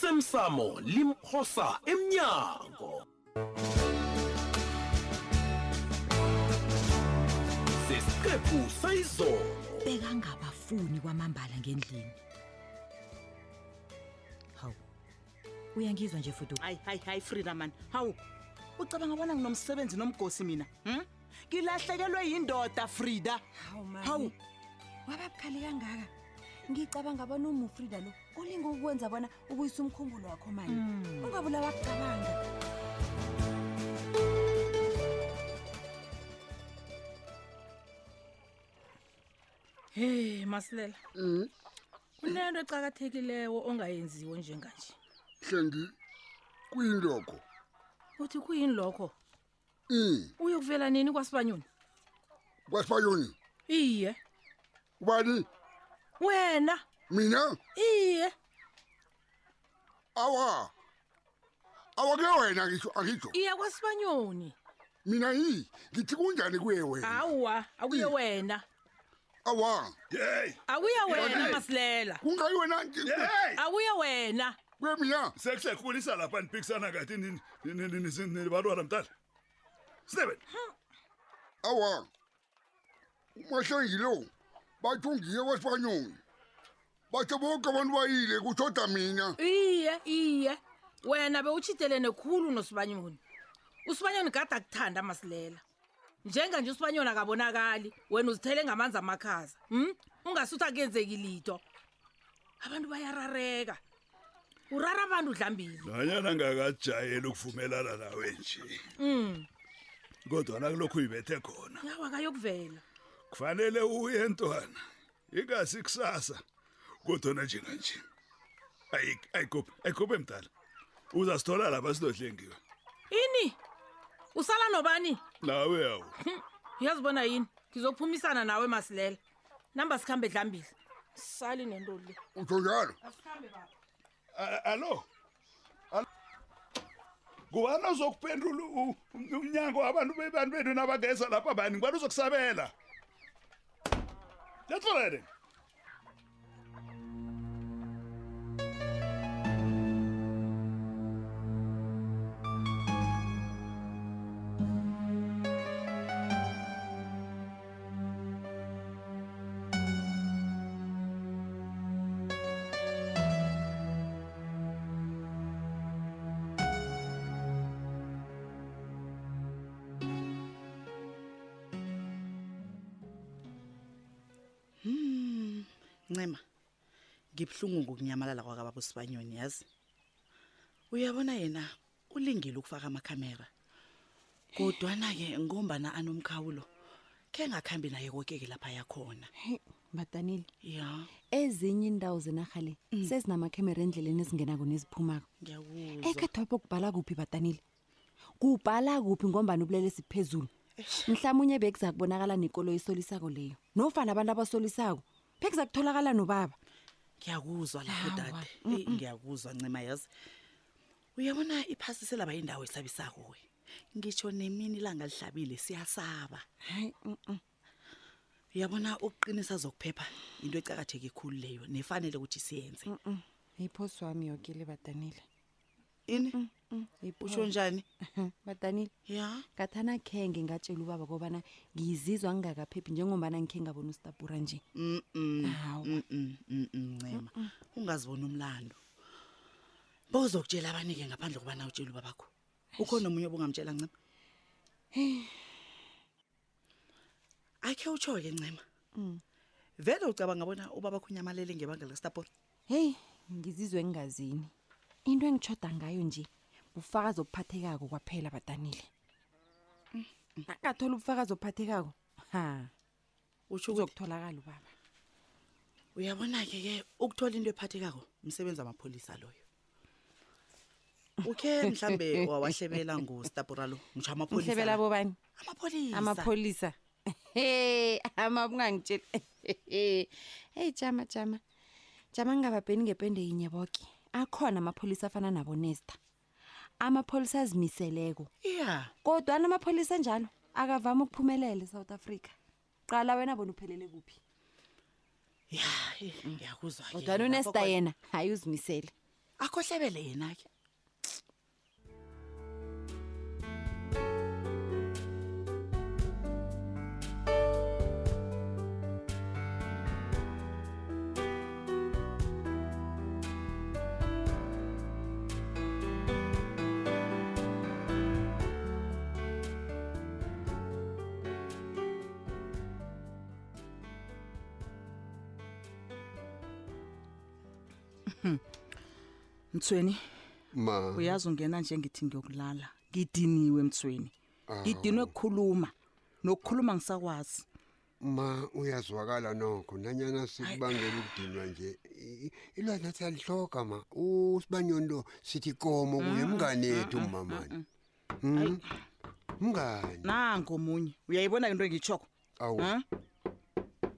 osemsamo limphosa emnyango sesiqephu sayizolo bekangabafuni kwamambala ngendlini hawu uyangizwa nje fudu hayi hayi hayi frida mani hawu ucabanga bona nginomsebenzi nomgosi mina hm? ngilahlekelwe yindoda frida hawu mani Hawu. waba bukhali kangaka ngicabanga bona umufrida lo ulinga ukwenza bona ubuyisa umkhumbulo wakho mani ungabulawa kucabanga Hey Masilela. Mhm. Kunento ecakathekilewo ongayenziwo njenganje. hlengi kuyindokho Uthi kuyini lokho? i Uyokuvela nini kwaSibanyoni? kwasifayoni Iye. ubani Wena? mina Iye. awa awake wena ngisho angitsho Iye kwaSibanyoni. mina yi ngithi kunjani kuye wena Hawa, akuye Iye. wena. awa Hey, Akuye wena Yona. Masilela. kungayi wena nje hey! Akuye wena. kuye mina Sekusekhulisa lapha niphikisana kathi nini nibantwana mntana. Steben, awa umahlengi lo bathi ungiye kwasifayoni bathe bonke abantu bayile kushoda mina Iye, iye. Wena bewuchitelene khulu noSibanyoni. USibanyoni gada kuthanda Masilela. Njenga nje uSibanyoni akabonakali, wena uzithele ngamanzi amakhaza. Hm? Ungasuthi akenzeki lito. Abantu bayarareka. Urara abantu dlambili. nanyana ngakajayeli ukuvumelana nawe nje. Mm. Kodwa nakulokhu uyibethe khona. Yawa kayokuvela. Kufanele uye ntwana. Ikasi kusasa. Kodwa na nje kanje. Ayi ayikuphe, ayikuphe mntana. Uzasithola lapha sidodlengiwe. Ini? Usala nobani? Nawe yawo. Uyazibona yini? Ngizokuphumisana nawe Masilela. Namba sikhambe dlambili. Sali nento le. utsho njalo Asikhambe baba. A- Allo. Allo. Kubani ozokuphendula u- u- umnyango wabantu bebantu benu nabageza lapha bani? Ngubani uzokusabela? Letholele. ncema ngibhlungu ngokunyamalala kwakababa usibanyoni yazi uyabona yena ulingile ukufaka amakhamera kodwana-ke ngombana anomkhawulo khe ngakhambi naye koke-ke lapha yakhona badanile ya ezinye iindawo zenarhale sezinamakhamera endleleni ezingenako neziphumako ngiyakuzwa ekhethwapho kubhala kuphi badanile kubhala kuphi ngombani ubulelesi phezulu mhlawumunye bekuza kubonakala nekolo isolisako leyo nofana abantu abasolisako bekuza kutholakala nobaba ngiyakuzwa lapho Awa, dade Eh, ngiyakuzwa ncema yazi uyabona iphasi selaba yindawo esabisako we ngitsho nemini ilanga lihlabile siyasaba hayi uyabona ukuqinisa zokuphepha into ecakatheke khulu leyo nefanele ukuthi siyenze yiphosi wami yoke le badanile ini Yiphoso. usho njani badanile ya ngathana khe ngingatshela ubaba kobana ngizizwa ngingakaphephi njengombana ngikhe ngabona usitapura nje Awa. ncema ungazibona umlando bowuzokutshela abanye-ke ngaphandle kobana utshela ubabakho ukhona omunye obungamtshela ncema akhe utsho-ke ncema vele ucabanga bona ubabakho unyamalele ngebanga likastapora heyi ngizizwe ngingazini into engitshoda ngayo nje bufakazi obuphathekako kwaphela badanile angathola ubufakazi obuphathekako ha utsho ukuthi uzokutholakala ubaba uyabona-ke ke ukuthola into ephathekako msebenzi wamapholisa loyo ukhe mhlambe wawahlebela ngostapura lo ngitsho mhlebela amapholisaapolisa bobani amapholisa he ama kungangitsheli heyi jama jama jama ngingababheni ngepende yinye boke akhona amapholisa afana nabonesta amapholisa azimiseleko iya kodwana amapholisa njalo akavami ukuphumelela esouth africa qala wena bona uphelele kuphi ya eh, ngiyakuzwa ke. kodwana Lapho unesta kwa- yena hayi uzimisele akhohlebele yena ke mthweni ma uyazi ungena nje ngithi ngiyokulala ngidiniwe mthweni ngidinwe kukhuluma nokukhuluma ngisakwazi ma uyazwakala nokho nanyana sikubangela ukudinwa nje I- ilwana siyalihloga ma usibanyoni lo sithi komo kuye mngane yethu umamani Mm? mngani nango omunye uyayibona into engiyitshoko awu ha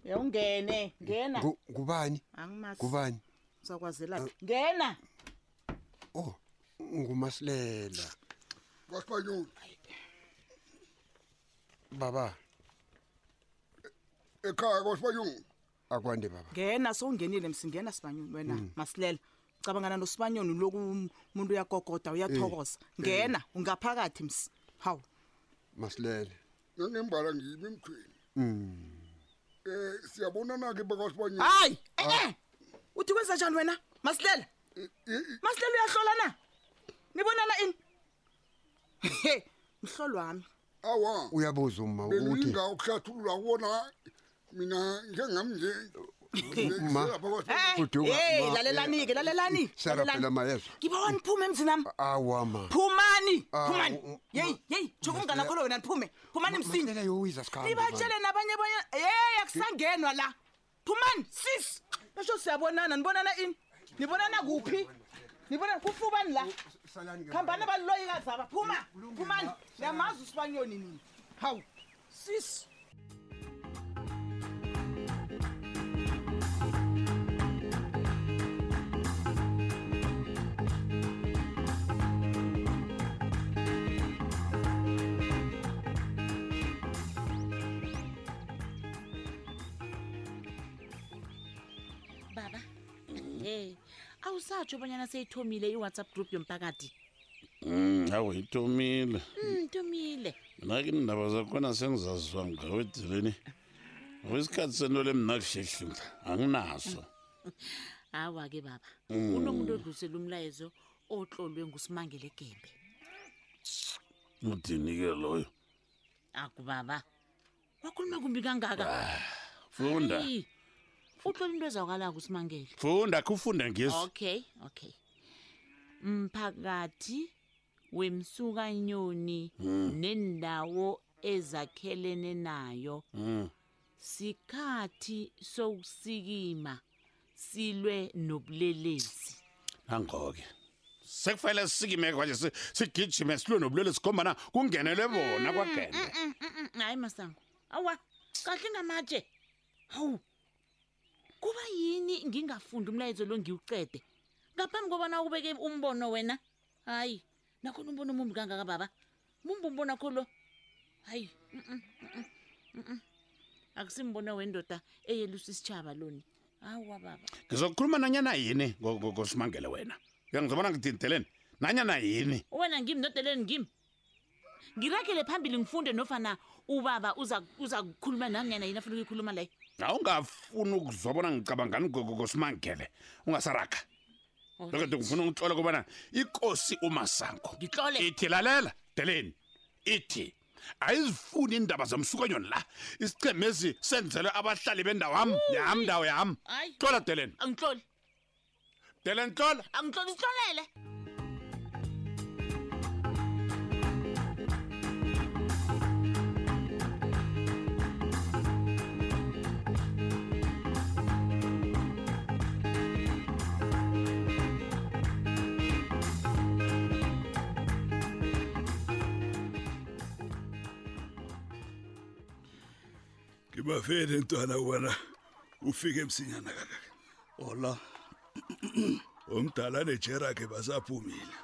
yawungene ngena Ngu- ngubani angimazi ngubani uzakwazela ngena oh ngumasilela kwasibanyoni baba ekhaya kwasibanyoni akwande baba ngena sowungenile msingena sibanyoni wena Mm. masilela cabangana nosibanyoni loku umuntu uyagogoda uyathokoza Eh, ngena ungaphakathi ms hawu masilela nangembala ngimi emthweni mm um siyabonana-ke bakwasibanyoni hayi ee uthi kwenza eh! njani wena masilela masilela uyahlola na nibonana ini He, mhlolo wami awa uyabuza uma uthi benginga ukuhlathulula kubona mina njengamnje ma Fuduka, hey ma, Eh, lalelani-ke lalelani sara phela lalelani. mayezwa ngibawa niphume emzinami awa ma phumani Ah, u- phumani u- yeyi yeyi joko umngane wakho lo wena niphume phumani msinya masilela yowiza sikhambe nibatshele nabanye abanye yeyi akusangenwa la phumani sis basho siyabonana nibonana ini nibonana kuphi nibonana kufubani la hambani abaliloyikazaba phuma phumani niyamazi usibanyoni nini hawu sis baba eh awusatsho obanyana seyithomile i-whatsapp group yomphakathi Mm, hawu itomile um ithomile mina ke indaba zakhona sengizazizwa ngawe edileni ngokwesikhathi sento le mna kuhlehlula anginaso hawa-ke baba kunomuntu odlulisela umlayezo otlolwe ngusimangele gembe udini-ke loyo akubaba wakhuluma kumbi kangaka funda Ayi, utlola into ezwakalako usimangele funda kufunda ngesi okay okay mphakathi wemsukanyoni nendawo ezakhelene nayo Mm, sikhathi sokusikima silwe nobulelesi nangoke sekufanele sisikime kwanje si- sigijime silwe nobulwele sikhombana kungenele bona kwagende hayi masango awa kahle ngamatshe hawu kuba yini ngingafundi umlayezo lo ngiwucede ngaphambi kobana ubeke umbono wena hayi nakhona umbono omumbi kangaka baba mumbi umbono akho lo hayi mm, mm, mm, mm, mm. akusimbono wendoda eyelusa isitshaba loni awa baba ngizokukhuluma nanyana yini ngo- ngo- ngosimangele wena uyangizobona ngidinteleni nanyana yini wena ngimi nodeleni ngimi ngiragele phambili ngifunde nofana ubaba uza uza kukhuluma nami yana yini afuna ukuyikhuluma leyo awungafuni ukuzobona ngicabangani ngosimangele ungasaraga Oh, lokade ngifuna ungitlole kobana ikosi umasango Ngitlole. ithi lalela deleni ithi ayizifuni iindaba zomsukanyoni la isichemezi senzelwe abahlali bendawam yam ndawo yam Hayi. tlola deleni angitloli deleni tlola angitloli sihlolele ngibafele ntwana wena ufike emsinyana kangaka ola omdala nejerakhe basaphumile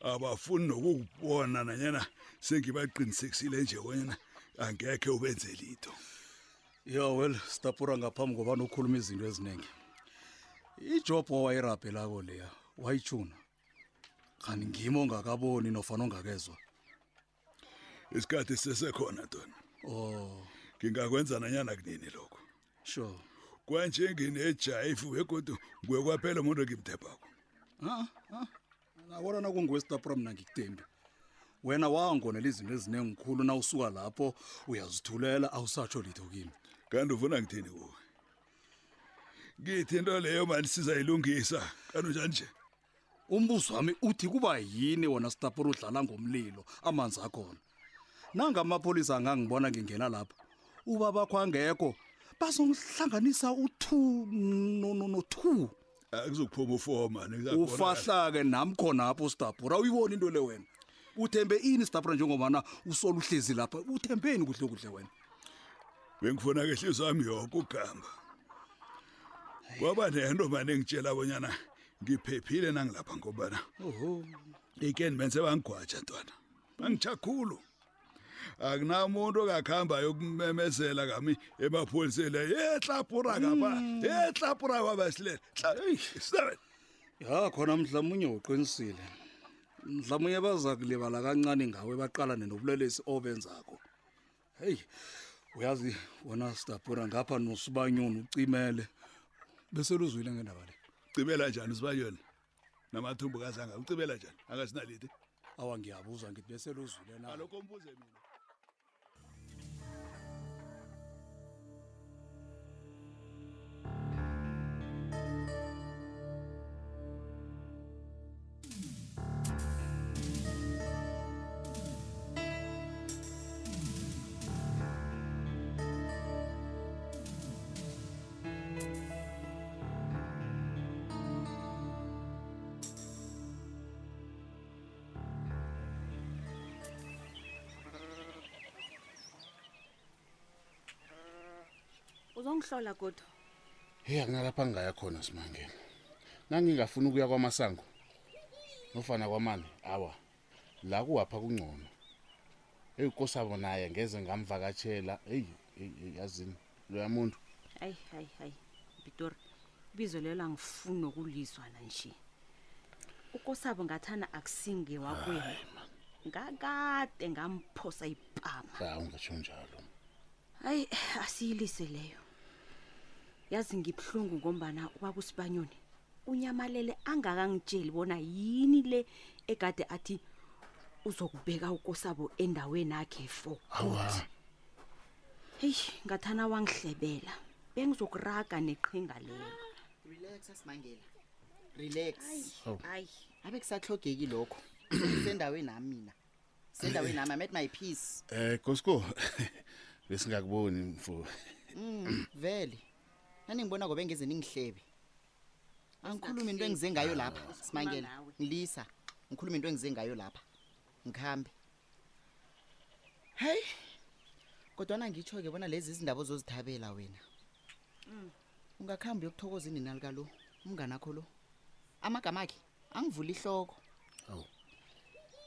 abafuni nokukubona nanyana sengibaqinisekisile nje wena angekhe ubenze lito yo well sitapura ngaphambi kobana ukhuluma izinto eziningi ijobho owayirabhelako leya wayitshuna kanti ngimo ongakaboni nofana ongakezwa isikhathi sisekhona dona o ngingakwenza nanyana kunini lokho sure kwanje nginejayifu begodu nguye kwaphela umuntu engimthebako nabona nakunguwestapra mna ngikutembi wena wangonela izinto ezinengikhulu na usuka lapho uyazithulela awusatsho litho kimi kanti ufuna ngithini kuwe ngithi into leyo mani sizayilungisa kanunjani nje umbuzo wami uthi kuba yini wona stapura udlala ngomlilo amanzi akhona nangamapholisa angangibona ngingena lapha uba bakho angekho bazongihlanganisa u-two no- no- no-two akuzokuphuma ufour mani ufahla-ke nami khonapho stapura uyibona into le wena uthembe ini stapura njengobana usola uhlezi lapha uthembeni kuhle kuhle wena bengifuna ke hliziyo yami yoke ugamba kwaba nento mani engitshela abonyana ngiphephile nangilapha ngobana ikeni benze bangigwaja ntwana bangitsha khulu akunamuntu ongakuhamba yokumemezela kami emapholiseni yehlapura kapha yehlapura kwabasilela seven ya khona mhlawumunye uqinisile mhlawumunye baza kulibala kancane ngawe baqalane nobulelesi obenzakho heyi uyazi wona sidabhura ngapha nosibanyoni ucimele bese luzwile ngendaba le cibela njani usibanyoni namathumbu kazanga ucibela njani akasinalite awa ngiyabuza ngithi bese luzwile na alokho mbuze mina uzongihlola kodwa heyi akunalapha ngingaya khona simangele nangingafuni ukuya kwamasango nofana kwamane awa la kuwapha kungcono eyi kosabo naye ngeze ngamvakatshela eyi eyi, eyi, yazini loya muntu hayi hayi hayi bitori ibizo lelo angifuni nokulizwana nje ukosabo ngathana akusinge wakwena ngakade ngamphosa ipama hawu ngatsho njalo hayi asiyilise leyo yazi ngibuhlungu ngombana ubabusibanyoni unyamalele angakangitsheli bona yini le egade athi uzokubeka ukosabo endaweni akhe for awa heyi ngathana wangihlebela bengizokuraga neqhinga lelo relax asimangela relax Awu. hayi abe kusahlogeki lokho sendaweni nami mina sendaweni nami amet my peace um gosco besingakuboni mfo Mm, vele naningibona ngoba engeze ningihlebe angikhulumi into engize ngayo lapha simangela ngilisa ngikhuluma into engize ngayo lapha ngikhambe heyi kodwana ngitsho-ke bona lezi izindaba ozozithabela wena ungakhambi yokuthokoza indina lika lo umngane akho lo amagama akhe angivula ihloko Awu.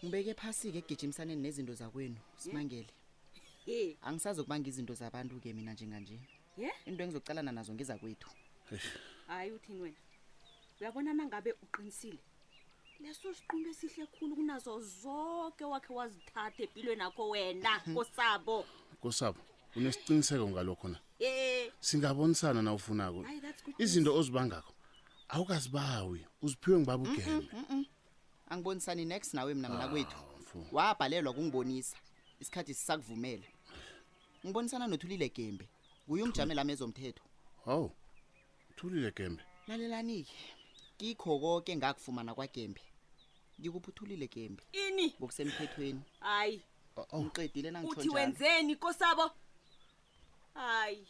ngibeke phasi-ke ekugijimisaneni nezinto zakwenu simangele angisazokubanga izinto zabantu-ke mina njenganje ye into engizokucalana nazo ngezakwethu hayi uthini wena uyabona nangabe uqinisile leso siqundo esihle khulu kunazo zonke wakhe wazithatha empilweni akho wena kosabo kosabo unesiqiniseko ngalokho na ye singabonisana na ufunako hayi that's good izinto ozibangakho awukazibawi uziphiwe ngibaba ugeme angibonisani next nawe mina mna kwethu Ah, mfo. wabhalelwa kungibonisa isikhathi sisakuvumela ngibonisana nothulile gembe kuye umjamela ami ezomthetho hawu thulile gembe lalelani-ke kikho konke ngakufumana kwagembe ngikuphi uthulile gembe ini ngokusemthethweni hayi ngiqedile nangitsho uthi njalo. wenzeni kosabo hayi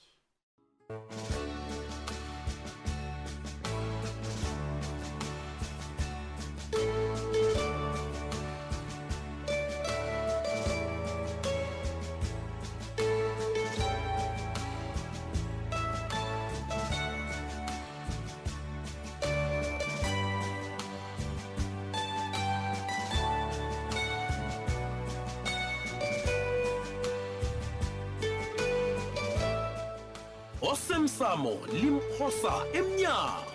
osemsamo limphosa emnyango